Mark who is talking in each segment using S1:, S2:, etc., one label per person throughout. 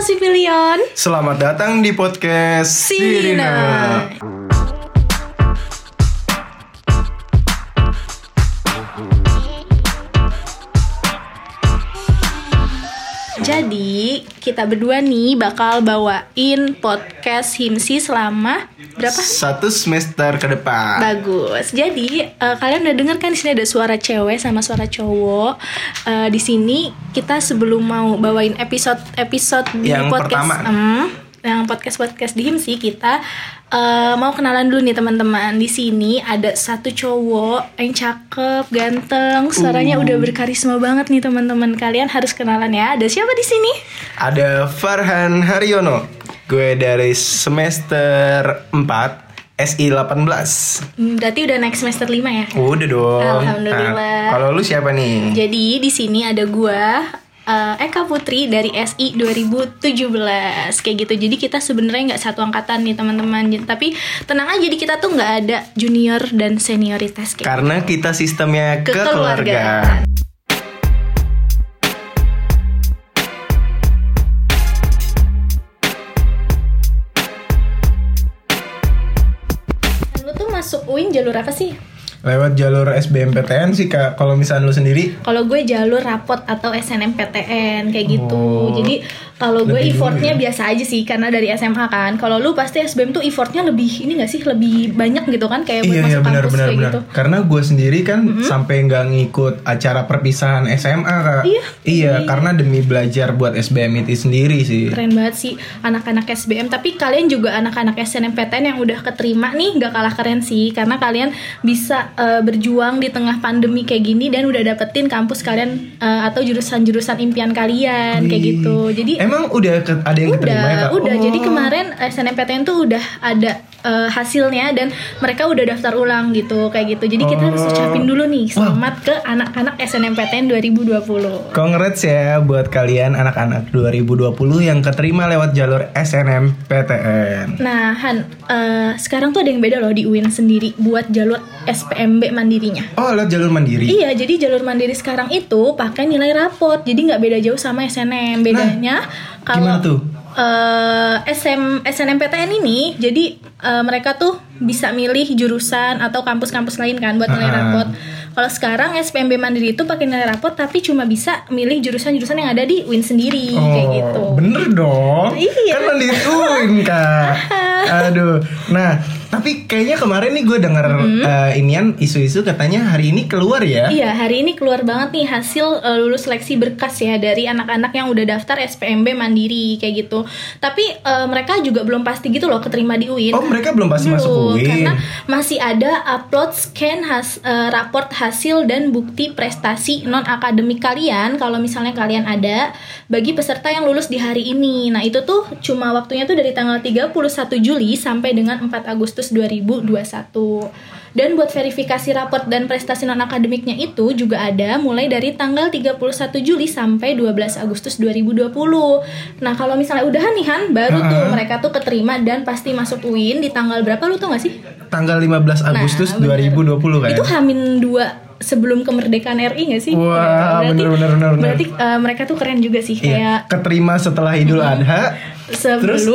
S1: Civilian
S2: Selamat datang di podcast
S1: Sirina. Nah. Jadi kita berdua nih bakal bawain podcast Himsi selama berapa?
S2: Satu semester ke depan.
S1: Bagus. Jadi eh, kalian udah denger kan di sini ada suara cewek sama suara cowok. Eh, di sini kita sebelum mau bawain episode episode di
S2: Yang
S1: podcast
S2: pertama.
S1: Hmm, yang podcast podcast di Himsi kita eh, mau kenalan dulu nih teman-teman. Di sini ada satu cowok yang cakep, ganteng, suaranya
S2: Uh.
S1: udah berkarisma banget nih teman-teman. Kalian harus kenalan ya. Ada siapa di sini?
S2: Ada Farhan Haryono. Gue dari semester 4 SI 18.
S1: Hmm, Berarti udah naik semester 5 ya.
S2: Udah dong.
S1: Alhamdulillah.
S2: Nah, kalau lu siapa nih?
S1: Jadi di sini ada gua eh, Eka Putri dari SI 2017 kayak gitu. Jadi kita sebenarnya nggak satu angkatan nih teman-teman. Jadi- Tapi tenang aja, jadi kita tuh nggak ada junior dan senioritas kayak.
S2: Karena kita sistemnya
S1: Kekeluargaan.
S2: kekeluargaan.
S1: Lu tuh masuk UIN jalur apa sih?
S2: Lewat jalur SBMPTN sih Kak. Kalau misalnya lu sendiri
S1: Kalau gue jalur rapot atau SNMPTN kayak gitu.
S2: Oh.
S1: Jadi kalau gue
S2: Lebih dulu
S1: effortnya
S2: ya.
S1: biasa aja sih karena dari SMA kan. Kalau lu pasti SBM tuh effortnya lebih ini gak sih lebih banyak gitu kan kayak buat
S2: Iya iya
S1: masuk
S2: benar
S1: kampus
S2: benar
S1: kayak
S2: benar.
S1: gitu.
S2: Karena gue sendiri kan sampai nggak ngikut acara perpisahan SMA kak.
S1: Iya.
S2: Iya karena demi belajar buat SBM itu sendiri sih.
S1: Keren banget sih anak-anak SBM. Tapi kalian juga anak-anak SNMPTN yang udah keterima nih gak kalah keren sih karena kalian bisa eh, berjuang di tengah pandemi kayak gini dan udah dapetin kampus kalian eh, atau jurusan-jurusan impian kalian kayak
S2: Wih.
S1: gitu. Jadi
S2: emang udah ke- ada yang keterima ya
S1: udah
S2: kak?
S1: udah
S2: Oh.
S1: jadi kemarin eh, SNMPTN tuh udah ada eh, hasilnya dan mereka udah daftar ulang gitu kayak gitu jadi kita harus
S2: Oh.
S1: ucapin dulu nih selamat ke anak-anak SNMPTN 2020
S2: Congrats ya buat kalian anak-anak 2020 yang keterima lewat jalur SNMPTN.
S1: nah Han eh, sekarang tuh ada yang beda loh di UIN sendiri buat jalur SPMB mandirinya
S2: Oh lewat jalur mandiri.
S1: Iya, jadi jalur mandiri sekarang itu pakai nilai rapot, jadi nggak beda jauh sama SNM. Bedanya kalau
S2: gimana tuh?
S1: eh, SM SNMPTN ini, jadi eh, mereka tuh bisa milih jurusan atau kampus-kampus lain kan buat nilai
S2: Ah.
S1: rapot. Kalau sekarang SPMB mandiri itu pakai nilai rapot, tapi cuma bisa milih jurusan-jurusan yang ada di Win sendiri kayak
S2: Oh,
S1: gitu.
S2: Bener dong.
S1: Iya.
S2: Kan mandiri UIN, Kak. Aduh. Nah, tapi kayaknya kemarin nih gue denger
S1: Hmm.
S2: eh, inian isu-isu katanya hari ini keluar ya.
S1: Iya, hari ini keluar banget nih hasil eh, lulus seleksi berkas ya dari anak-anak yang udah daftar SPMB mandiri kayak gitu. Tapi eh, mereka juga belum pasti gitu loh keterima di UIN.
S2: Oh, mereka belum pasti masuk
S1: Belum,
S2: UIN.
S1: Karena masih ada upload scan has, eh, raport hasil dan bukti prestasi non akademik kalian kalau misalnya kalian ada bagi peserta yang lulus di hari ini. Nah, itu tuh cuma waktunya tuh dari tanggal 31 Juli sampai dengan 4 Agustus 2021. Dan buat verifikasi raport dan prestasi non akademiknya itu juga ada mulai dari tanggal 31 Juli sampai 12 Agustus 2020. Nah, kalau misalnya udahan nih Han, baru tuh
S2: Ha-ha.
S1: mereka tuh keterima dan pasti masuk UIN di tanggal berapa lu tau gak sih?
S2: Tanggal 15 Agustus
S1: Nah, bener.
S2: 2020 kan.
S1: Itu Hamin 2 sebelum kemerdekaan RI gak sih?
S2: Wah,
S1: Berarti-
S2: bener, bener, bener, bener.
S1: Berarti eh, mereka tuh keren juga sih
S2: Iya,
S1: kayak Hmm.
S2: keterima setelah Idul Adha.
S1: sebelum
S2: Terus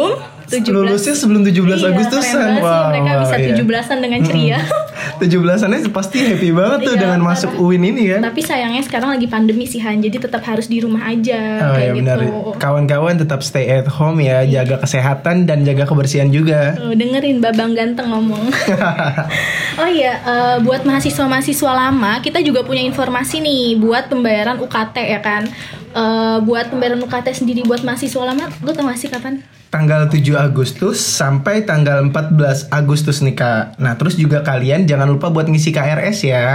S1: 17
S2: lulusnya sebelum 17
S1: Iya,
S2: Agustusan.
S1: keren banget sih,
S2: Wow,
S1: mereka
S2: wow,
S1: bisa
S2: iya.
S1: 17-an dengan ceria.
S2: 17-annya pasti happy banget tuh
S1: Iya,
S2: dengan
S1: parah.
S2: masuk UIN ini kan.
S1: Tapi sayangnya sekarang lagi pandemi sih Han, jadi tetap harus di rumah aja
S2: Oh
S1: kayak
S2: ya benar.
S1: gitu.
S2: Kawan-kawan tetap stay at home ya, jaga kesehatan dan jaga kebersihan juga.
S1: Tuh, Eh, dengerin Babang ganteng ngomong. oh iya, eh, buat mahasiswa-mahasiswa lama kita juga punya informasi nih buat pembayaran UKT ya kan. Eh, buat pembayaran UKT sendiri buat mahasiswa lama, lu tau gak sih kapan?
S2: Tanggal 7 Agustus sampai tanggal 14 Agustus nih Kak. Nah, terus juga kalian jangan lupa buat ngisi KRS ya.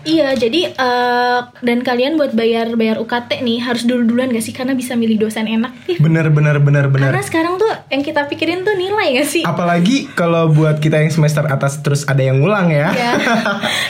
S1: Iya, jadi eh, dan kalian buat bayar-bayar UKT nih harus dulu-duluan gak sih karena bisa milih dosen enak. Ih,
S2: Bener bener bener bener.
S1: Karena sekarang tuh yang kita pikirin tuh nilai gak sih?
S2: Apalagi kalau buat kita yang semester atas terus ada yang ngulang ya.
S1: Ya.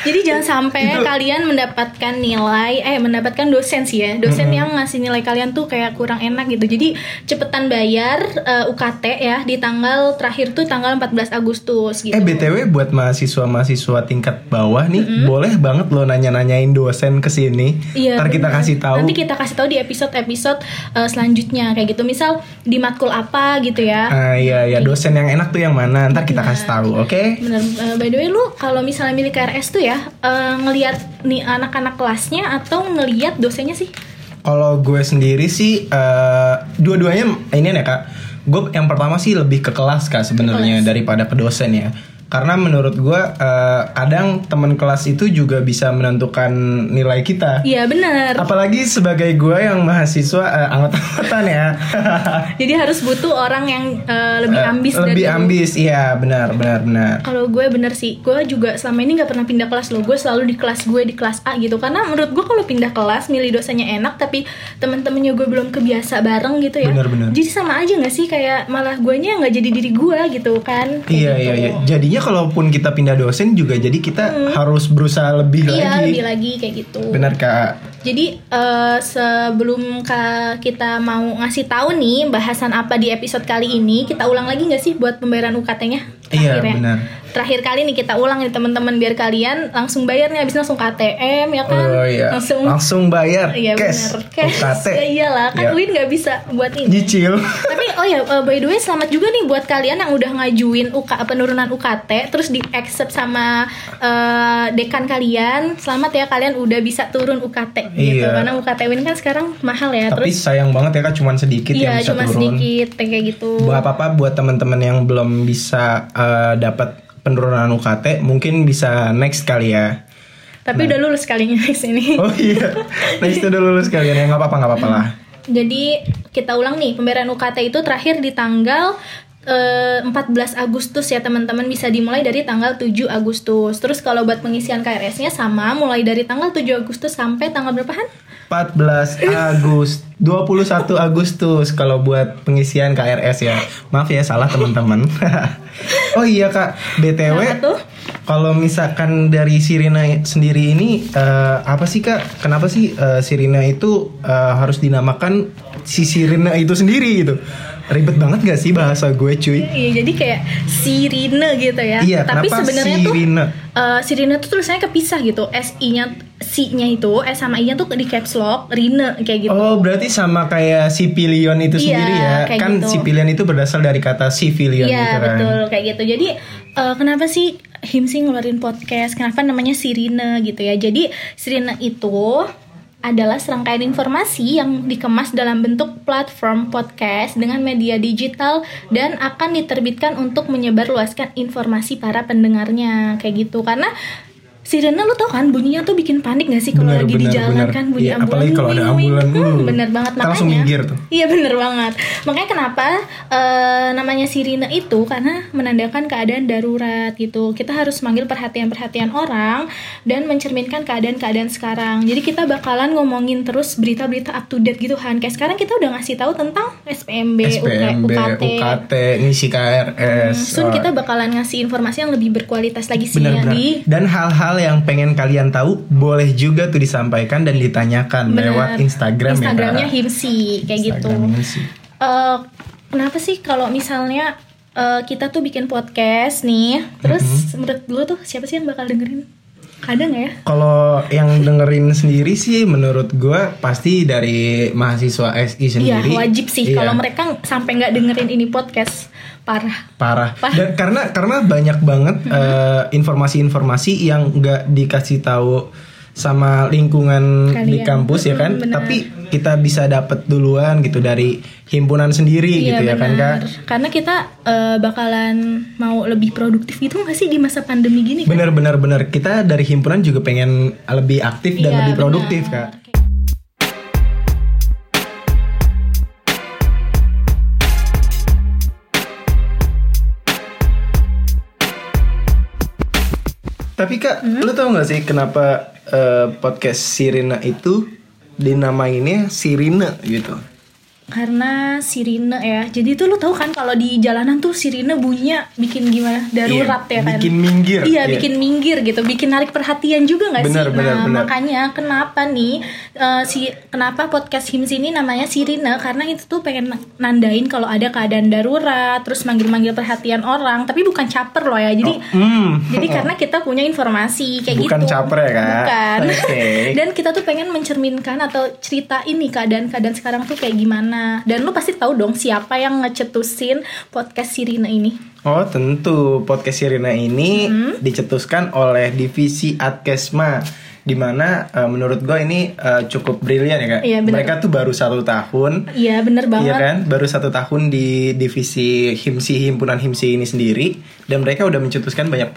S1: Jadi jangan sampai
S2: Itu-
S1: kalian mendapatkan nilai eh mendapatkan dosen sih ya. Dosen yang ngasih nilai kalian tuh kayak kurang enak gitu. Jadi cepetan bayar eh, UKT ya di tanggal terakhir tuh tanggal 14 Agustus gitu.
S2: Eh BTW buat mahasiswa-mahasiswa tingkat bawah nih Boleh banget loh lo nanya-nanyain dosen kesini
S1: Iya.
S2: ntar kita
S1: benar.
S2: kasih tahu
S1: Nanti kita kasih tahu di episode-episode eh, selanjutnya kayak gitu. Misal di matkul apa gitu ya.
S2: Ah iya iya dosen yang enak tuh yang mana ntar kita
S1: Iya.
S2: kasih tahu oke
S1: Bener. Eh, by the way lu kalau misalnya milik KRS tuh ya eh, ngelihat nih anak-anak kelasnya atau ngelihat dosennya sih?
S2: Kalau gue sendiri sih eh, dua-duanya ini ya kak. Gue yang pertama sih lebih ke kelas kak sebenarnya daripada ke dosen ya. Karena menurut gue eh, kadang teman kelas itu juga bisa menentukan nilai kita.
S1: Iya bener.
S2: Apalagi sebagai gue yang mahasiswa eh, anggota-anggotan ya.
S1: Jadi harus butuh orang yang eh, lebih ambis
S2: lebih
S1: dari lu.
S2: ambis, iya benar benar benar.
S1: Kalau gue bener sih, gue juga selama ini nggak pernah pindah kelas loh. Gue selalu di kelas gue di kelas A gitu. Karena menurut gue kalau pindah kelas milih dosanya enak, tapi temen-temennya gue belum kebiasa bareng gitu ya.
S2: Bener-bener.
S1: Jadi sama aja nggak sih kayak malah guanya yang nggak jadi diri gue gitu kan? Kayak
S2: Iya
S1: gitu.
S2: iya iya. Jadinya kalaupun kita pindah dosen juga jadi kita harus berusaha
S1: Hmm.
S2: lebih
S1: Iya,
S2: lagi.
S1: lebih lagi kayak gitu.
S2: Benar kak.
S1: Jadi eh, sebelum ka- kita mau ngasih tahu nih bahasan apa di episode kali ini, kita ulang lagi nggak sih buat pembayaran UKT-nya?
S2: Iya,
S1: Terakhir ya?
S2: benar.
S1: Terakhir kali nih kita ulang nih teman-teman biar kalian langsung bayar nih habis langsung KTM ya kan?
S2: Oh iya.
S1: Langsung
S2: Langsung, bayar
S1: Iya
S2: cash.
S1: benar. Cash.
S2: UKT.
S1: Ya iyalah, kan
S2: Iya.
S1: Win nggak bisa buat ini.
S2: Nyicil.
S1: Tapi oh ya eh, by the way selamat juga nih buat kalian yang udah ngajuin UK, penurunan UKT terus di accept sama eh, dekan kalian. Selamat ya kalian udah bisa turun UKT gitu.
S2: Iya.
S1: Karena UKT Win kan sekarang mahal ya.
S2: Tapi
S1: terus
S2: sayang banget ya Kak cuman sedikit yang
S1: iya
S2: bisa
S1: cuma
S2: turun.
S1: sedikit kayak gitu.
S2: Buat apa-apa buat teman-teman yang belum bisa eh, dapat penurunan UKT mungkin bisa next kali ya.
S1: Tapi udah lulus kalinya di sini.
S2: Oh iya. next udah lulus kalian ya nggak apa-apa nggak apa-apa lah.
S1: Jadi kita ulang nih pembayaran UKT itu terakhir di tanggal eh, 14 Agustus ya teman-teman bisa dimulai dari tanggal 7 Agustus. Terus kalau buat pengisian KRS-nya sama mulai dari tanggal 7 Agustus sampai tanggal berapa Han?
S2: 14 Agustus 21 Agustus kalau buat pengisian KRS ya. Maaf ya salah teman-teman. oh iya Kak,
S1: Kenapa
S2: BTW
S1: tuh?
S2: kalau misalkan dari Sirina sendiri ini eh, apa sih Kak? Kenapa sih eh, Sirina itu eh, harus dinamakan si Sirina itu sendiri gitu? Ribet banget gak sih bahasa gue cuy?
S1: Iya, jadi kayak sirine gitu ya.
S2: Iya,
S1: Tapi
S2: kenapa
S1: sebenarnya tuh
S2: sirine?
S1: eh, sirine tuh tulisannya kepisah gitu. SI-nya C-nya itu S sama I-nya tuh di caps lock, rine kayak gitu.
S2: Oh berarti sama kayak si Pilion
S1: Iya,
S2: itu sendiri ya?
S1: kayak
S2: Kan
S1: gitu.
S2: si Pilion itu berasal dari kata si Pilion
S1: Iya
S2: gitu kan?
S1: betul kayak gitu. Jadi eh, kenapa sih Himsi ngeluarin podcast? Kenapa namanya Sirine gitu ya? Jadi Sirine itu adalah serangkaian informasi yang dikemas dalam bentuk platform podcast dengan media digital dan akan diterbitkan untuk menyebarluaskan informasi para pendengarnya kayak gitu karena Sirene lu tau kan bunyinya tuh bikin panik gak sih kalau
S2: Bener,
S1: lagi di
S2: bener,
S1: jalan
S2: bener.
S1: kan bunyi
S2: Iya,
S1: ambulan
S2: apalagi kalau ada
S1: wing, wing.
S2: ambulan,
S1: Hmm,
S2: uh,
S1: bener banget
S2: kita
S1: makanya
S2: langsung minggir tuh.
S1: Iya bener banget Makanya kenapa eh, namanya sirine itu Karena menandakan keadaan darurat gitu Kita harus manggil perhatian-perhatian orang Dan mencerminkan keadaan-keadaan sekarang Jadi kita bakalan ngomongin terus berita-berita up to date gitu Han Kayak sekarang kita udah ngasih tahu tentang SPMB,
S2: SPMB,
S1: UKT,
S2: UKT, ngisi KRS.
S1: Soon kita bakalan ngasih informasi yang lebih berkualitas lagi sih ya,
S2: benar-benar.
S1: di
S2: Dan hal-hal yang pengen kalian tahu boleh juga tuh disampaikan dan ditanyakan
S1: Bener.
S2: lewat Instagram
S1: Instagramnya
S2: ya. Kak?
S1: Himsi kayak gitu
S2: Instagramnya sih.
S1: Eh, kenapa sih kalau misalnya eh, kita tuh bikin podcast nih, terus
S2: Mm-hmm.
S1: menurut lu tuh siapa sih yang bakal dengerin? Ada nggak ya?
S2: Kalau yang dengerin sendiri sih menurut gua pasti dari mahasiswa SI
S1: Iya
S2: sendiri.
S1: wajib sih
S2: Iya,
S1: kalau mereka sampai nggak dengerin ini podcast parah.
S2: parah.
S1: Parah.
S2: Dan karena karena banyak banget eh, informasi-informasi yang nggak dikasih tahu sama lingkungan di
S1: Kalian.
S2: kampus ya kan.
S1: Mm, benar.
S2: Tapi kita bisa dapat duluan gitu dari himpunan sendiri gitu ya kan Kak.
S1: Iya, benar. Karena kita eh, bakalan mau lebih produktif gitu nggak sih di masa pandemi gini? kan?
S2: Bener-bener bener kita dari himpunan juga pengen lebih aktif dan
S1: Iya,
S2: lebih produktif
S1: benar.
S2: Kak. Tapi Kak, lu tau gak sih kenapa eh, podcast Sirina itu dinamainnya Sirina gitu?
S1: karena sirine ya jadi tuh lu tahu kan kalau di jalanan tuh sirine bunyinya bikin gimana darurat ya
S2: Iya,
S1: kan
S2: bikin minggir.
S1: iya
S2: Iya.
S1: bikin minggir gitu bikin narik perhatian juga nggak sih
S2: Benar,
S1: nah
S2: benar, benar.
S1: makanya kenapa nih eh, si kenapa podcast hims ini namanya sirine karena itu tuh pengen na- nandain kalau ada keadaan darurat terus manggil-manggil perhatian orang tapi bukan caper loh ya jadi
S2: Hmm.
S1: jadi karena kita punya informasi kayak
S2: Bukan
S1: gitu.
S2: caper ya, Kak?
S1: Bukan.
S2: Oke.
S1: Dan kita tuh pengen mencerminkan atau cerita ini keadaan-keadaan sekarang tuh kayak gimana. Dan lu pasti tahu dong siapa yang ngecetusin podcast Sirina ini.
S2: Oh tentu podcast Sirina ini
S1: Hmm?
S2: dicetuskan oleh divisi Adkesma dimana eh, menurut gue ini eh, cukup brilian ya kak.
S1: Iya, benar.
S2: Mereka tuh baru satu tahun,
S1: Iya bener
S2: iya
S1: banget.
S2: kan? Baru satu tahun di divisi himsi himpunan himsi ini sendiri dan mereka udah mencetuskan banyak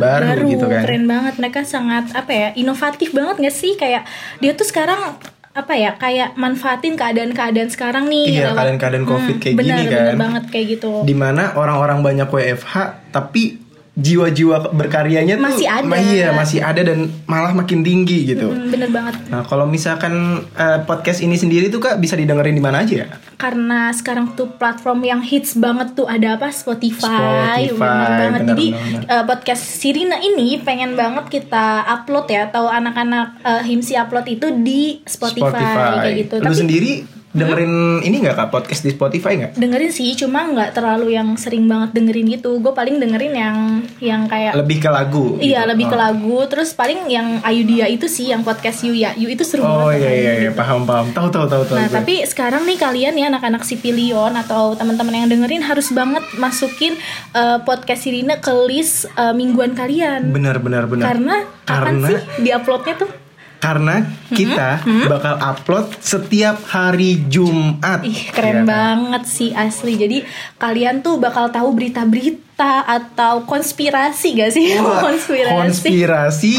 S1: Iya,
S2: baru, gitu kan.
S1: Keren banget mereka sangat apa ya inovatif banget gak sih kayak dia tuh sekarang apa ya kayak manfaatin keadaan-keadaan sekarang nih.
S2: Iya
S1: lewat-
S2: keadaan-keadaan covid kayak
S1: benar,
S2: gini
S1: benar
S2: kan.
S1: banget kayak gitu.
S2: Dimana orang-orang banyak WFH tapi jiwa-jiwa berkaryanya tuh
S1: Masih ada.
S2: Iya masih ada dan malah makin tinggi gitu.
S1: Hmm, bener banget.
S2: Nah, kalau misalkan eh, podcast ini sendiri tuh Kak bisa didengerin di mana aja ya?
S1: karena sekarang tuh platform yang hits banget tuh ada apa Spotify,
S2: Spotify,
S1: bener banget.
S2: benar,
S1: Jadi
S2: benar,
S1: eh, podcast Sirina ini pengen banget kita upload ya atau anak-anak eh, Himsi upload itu di Spotify, kayak gitu.
S2: Lu
S1: Tapi
S2: sendiri dengerin ini nggak Kak podcast di Spotify nggak?
S1: dengerin sih cuma nggak terlalu yang sering banget dengerin gitu. Gue paling dengerin yang yang kayak
S2: Lebih ke
S1: Ya.
S2: lagu.
S1: Iya
S2: gitu.
S1: lebih ke
S2: Oh.
S1: lagu Terus paling yang Ayudia itu sih Yang podcast Yuya Yu itu seru
S2: Oh
S1: banget
S2: iya iya iya paham paham. Tahu tahu tahu tahu.
S1: Nah,
S2: gue.
S1: tapi sekarang nih kalian ya anak-anak sipilion atau teman-teman yang dengerin harus banget masukin eh, podcast Sirine ke list eh, mingguan kalian.
S2: benar benar benar.
S1: Karena kapan
S2: Nah, Karena-
S1: sih diuploadnya tuh?
S2: Karena
S1: Mm-hmm,
S2: kita bakal upload setiap hari Jumat.
S1: Ih, keren
S2: Iya, Kak.
S1: banget sih asli. Jadi kalian tuh bakal tahu berita-berita atau konspirasi gak sih?
S2: Wah,
S1: konspirasi.
S2: konspirasi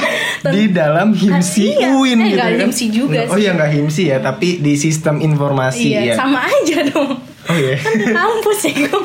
S2: di dalam himsi
S1: Iya. Eh,
S2: UIN gitu
S1: nggak
S2: kan.
S1: himsi juga
S2: Oh
S1: sih.
S2: iya nggak himsi ya, tapi di sistem informasi
S1: Iya,
S2: ya.
S1: sama aja dong.
S2: Oh iya.
S1: Kan di kampus ya gue.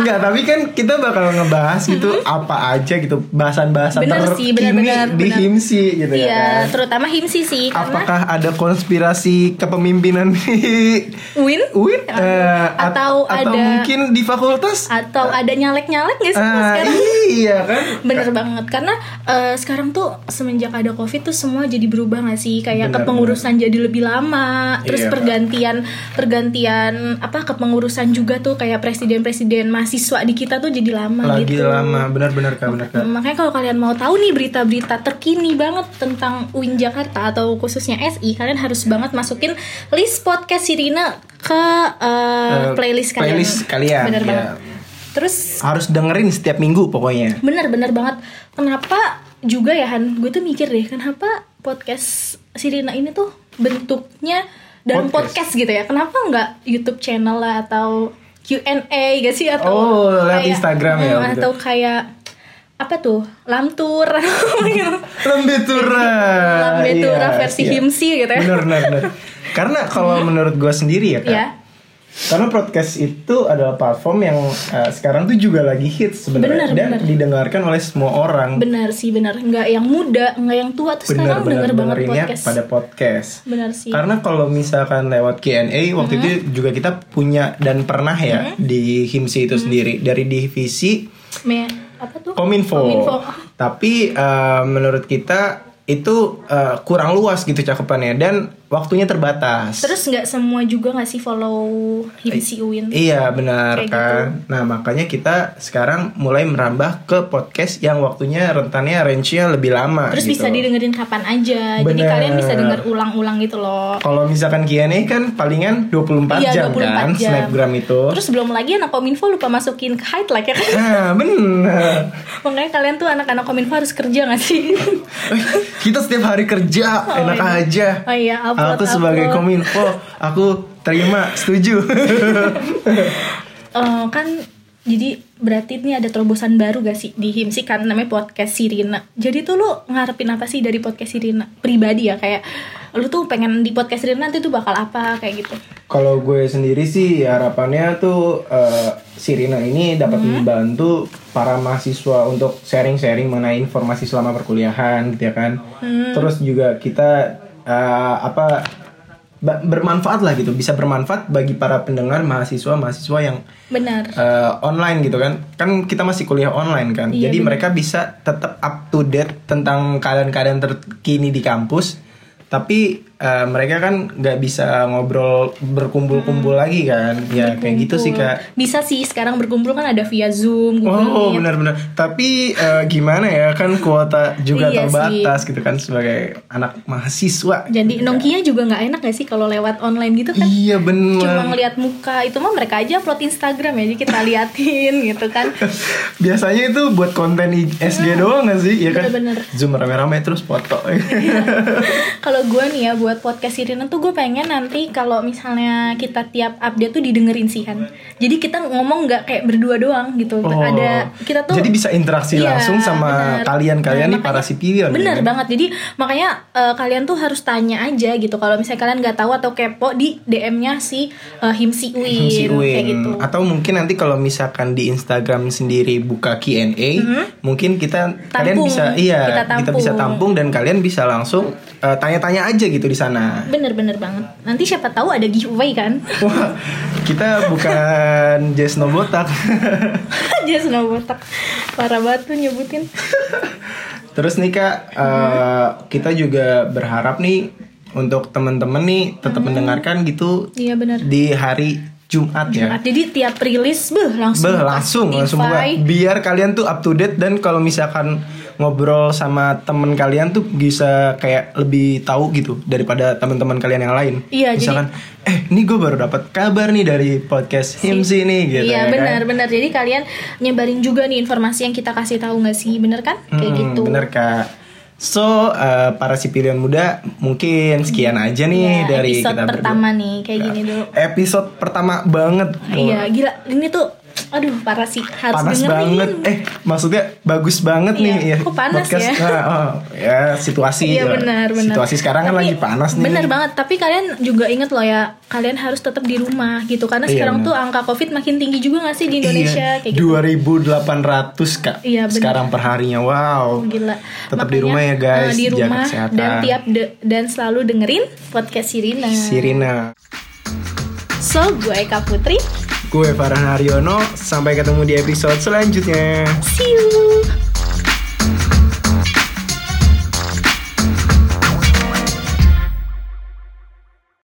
S2: Enggak, tapi kan kita bakal ngebahas gitu apa aja gitu bahasan-bahasan
S1: Mm-hmm. Bener
S2: terkini
S1: sih, bener-bener,
S2: di
S1: bener.
S2: himsi gitu ya.
S1: Iya,
S2: Kan?
S1: terutama himsi sih karena
S2: Apakah ada konspirasi kepemimpinan di
S1: Win
S2: UIN
S1: Aduh.
S2: Eh, at-
S1: Atau ada-
S2: mungkin di fakultas?
S1: atau ada nyalek-nyalek gak sih
S2: Ah,
S1: sekarang?
S2: iya kan?
S1: Bener banget karena eh, sekarang tuh semenjak ada covid tuh semua jadi berubah gak sih kayak
S2: Bener,
S1: kepengurusan jadi lebih lama terus
S2: Iya.
S1: pergantian pergantian apa kepengurusan juga tuh kayak presiden-presiden mahasiswa di kita tuh jadi lama
S2: Lagi
S1: gitu Mm,
S2: lama, benar-benar kak, benar kak.
S1: makanya kalau kalian mau tahu nih berita-berita terkini banget tentang UIN Jakarta atau khususnya SI kalian harus banget masukin list podcast Sirina ke eh,
S2: Eh,
S1: playlist kalian
S2: playlist kalian,
S1: bener
S2: iya.
S1: banget terus
S2: Harus dengerin setiap minggu pokoknya.
S1: Bener-bener banget. Kenapa juga ya Han? Gue tuh mikir deh, kenapa podcast Sirina ini tuh bentuknya dan podcast,
S2: Podcast.
S1: gitu ya? Kenapa nggak YouTube channel lah atau Q&A gak sih atau
S2: Oh, lewat Instagram
S1: hmm,
S2: ya, gitu.
S1: atau kayak apa tuh lamtur gitu.
S2: Lembetura.
S1: Lambetura versi
S2: iya.
S1: himsi gitu ya.
S2: Benar, benar, benar. Karena kalau menurut gue sendiri ya kak,
S1: ya
S2: Karena podcast itu adalah platform yang uh, sekarang tuh juga lagi hits
S1: Benar,
S2: sebenarnya dan
S1: benar.
S2: didengarkan oleh semua orang.
S1: benar sih benar nggak yang muda nggak yang tua tuh sekarang
S2: Benar-benar
S1: denger banget
S2: dengerinnya
S1: podcast Iya.
S2: pada podcast.
S1: benar sih
S2: Karena kalau misalkan lewat Q&A waktu itu juga kita punya dan pernah ya di HIMSI itu sendiri dari divisi
S1: Me- apa tuh
S2: Kominfo.
S1: Kominfo.
S2: Tapi uh, menurut kita itu uh, kurang luas gitu cakupannya dan waktunya terbatas.
S1: Terus nggak semua juga nggak sih follow Himsi Uwin?
S2: Iya benar
S1: Kayak gitu.
S2: kan. Nah makanya kita sekarang mulai merambah ke podcast yang waktunya rentannya range-nya lebih lama.
S1: Terus
S2: gitu.
S1: bisa didengerin kapan aja. Jadi
S2: Bener.
S1: kalian bisa denger ulang-ulang gitu loh.
S2: Kalau misalkan Q&A kan palingan 24
S1: Iya,
S2: jam
S1: 24
S2: kan
S1: jam.
S2: snapgram itu.
S1: Terus belum lagi anak kominfo lupa masukin ke highlight ya kan?
S2: Nah benar.
S1: Makanya kalian tuh anak-anak kominfo harus kerja nggak sih?
S2: kita setiap hari kerja
S1: Oh,
S2: enak
S1: iya.
S2: aja.
S1: Oh iya, upload,
S2: aku sebagai
S1: upload.
S2: kominfo aku terima setuju.
S1: Eh, kan jadi berarti ini ada terobosan baru gak sih di Himsi kan namanya podcast Sirina. Jadi tuh lu ngarepin apa sih dari podcast Sirina pribadi ya kayak lu tuh pengen di podcast Sirina nanti tuh bakal apa kayak gitu.
S2: Kalau gue sendiri sih harapannya tuh eh, Sirina ini dapat membantu para mahasiswa untuk sharing-sharing mengenai informasi selama perkuliahan gitu ya kan. Terus juga kita eh, apa ba- bermanfaat lah gitu bisa bermanfaat bagi para pendengar mahasiswa mahasiswa yang
S1: Benar.
S2: eh, online gitu kan kan kita masih kuliah online kan
S1: Iya,
S2: jadi
S1: bener.
S2: mereka bisa tetap up to date tentang keadaan-keadaan terkini di kampus tapi eh, mereka kan nggak bisa ngobrol berkumpul-kumpul
S1: Hmm.
S2: lagi kan ya kayak gitu sih
S1: Kumpul.
S2: kak
S1: Bisa sih sekarang berkumpul kan ada via Zoom, Google
S2: Oh
S1: Meet.
S2: benar-benar. Tapi eh, gimana ya kan kuota juga
S1: Iya sih.
S2: terbatas gitu kan sebagai anak mahasiswa.
S1: Jadi nongkinya juga nggak enak gak sih kalau lewat online gitu kan?
S2: Iya
S1: Cuma
S2: benar.
S1: ngeliat muka itu mah mereka aja upload Instagram ya, jadi kita liatin gitu kan.
S2: Biasanya itu buat konten I- SG doang gak sih? Iya kan?
S1: Bener-bener.
S2: Zoom rame-rame terus foto.
S1: kalau gue nih ya buat podcast Sirina tuh gue pengen nanti kalau misalnya kita tiap update tuh didengerin sih kan. Jadi kita ngomong nggak kayak berdua doang gitu.
S2: Oh.
S1: Ada kita tuh
S2: Jadi bisa interaksi
S1: Iya,
S2: langsung sama
S1: bener.
S2: kalian-kalian
S1: Nah,
S2: nih para
S1: makanya-
S2: sipilion.
S1: Bener
S2: ya kan?
S1: banget. Jadi makanya eh, kalian tuh harus tanya aja gitu. Kalau misalnya kalian nggak tahu atau kepo di DM-nya si eh, Himsi Uin,
S2: Si
S1: kayak
S2: Uin.
S1: gitu.
S2: Atau mungkin nanti kalau misalkan di Instagram sendiri buka Q&A, mungkin kita kalian
S1: Mhm. Tampung.
S2: bisa iya
S1: Kita
S2: kita, bisa
S1: tampung.
S2: tampung dan kalian bisa langsung eh, tanya-tanya aja gitu di sana.
S1: Bener-bener banget. Nanti siapa tahu ada giveaway kan?
S2: Wah, kita bukan Jesno Botak.
S1: Aja snow botak. Parah banget tuh nyebutin.
S2: Terus nih Kak,
S1: Mhm.
S2: eh, kita juga berharap nih untuk teman-teman nih
S1: Mhm.
S2: tetap mendengarkan gitu
S1: Iya bener.
S2: di hari Jumat, ya.
S1: Jumat. Jadi tiap rilis beh langsung
S2: Beh,
S1: ke
S2: langsung langsung buka.
S1: Spotify.
S2: biar kalian tuh up to date dan kalau misalkan ngobrol sama temen kalian tuh bisa kayak lebih tahu gitu daripada teman-teman kalian yang lain.
S1: Iya, jadi-
S2: misalkan eh ini gue baru dapat kabar nih dari podcast Himsi nih gitu
S1: iya
S2: ya kan.
S1: benar benar jadi kalian nyebarin juga nih informasi yang kita kasih tahu nggak sih bener kan kayak
S2: Hmm,
S1: gitu
S2: Bener kak. So eh, para sipilion muda mungkin sekian aja nih
S1: Ya,
S2: dari
S1: episode
S2: kita berdua.
S1: pertama nih kayak gini dulu
S2: Episode pertama banget.
S1: Iya gila ini tuh aduh parah sih harus
S2: panas
S1: dengerin.
S2: banget. Eh maksudnya bagus
S1: Iya,
S2: banget nih ya.
S1: kok panas ya?
S2: Nah, oh, ya situasi.
S1: Iya
S2: ya.
S1: benar benar.
S2: Situasi sekarang kan
S1: Tapi,
S2: lagi panas nih.
S1: Benar banget. Tapi kalian juga inget loh ya, kalian harus tetap di rumah gitu karena
S2: Iya,
S1: sekarang
S2: benar.
S1: tuh angka covid makin tinggi juga gak sih di Indonesia
S2: Iya,
S1: kayak gitu.
S2: 2800 kak.
S1: Iya, benar.
S2: sekarang perharinya wow.
S1: Gila.
S2: Tetap di rumah ya, guys.
S1: eh, di
S2: Jaga
S1: rumah
S2: kesehatan.
S1: dan tiap de- dan selalu dengerin podcast Sirina.
S2: Sirina.
S1: So gue Eka Putri.
S2: Gue Farhan Haryono. Sampai ketemu di episode selanjutnya.
S1: See you.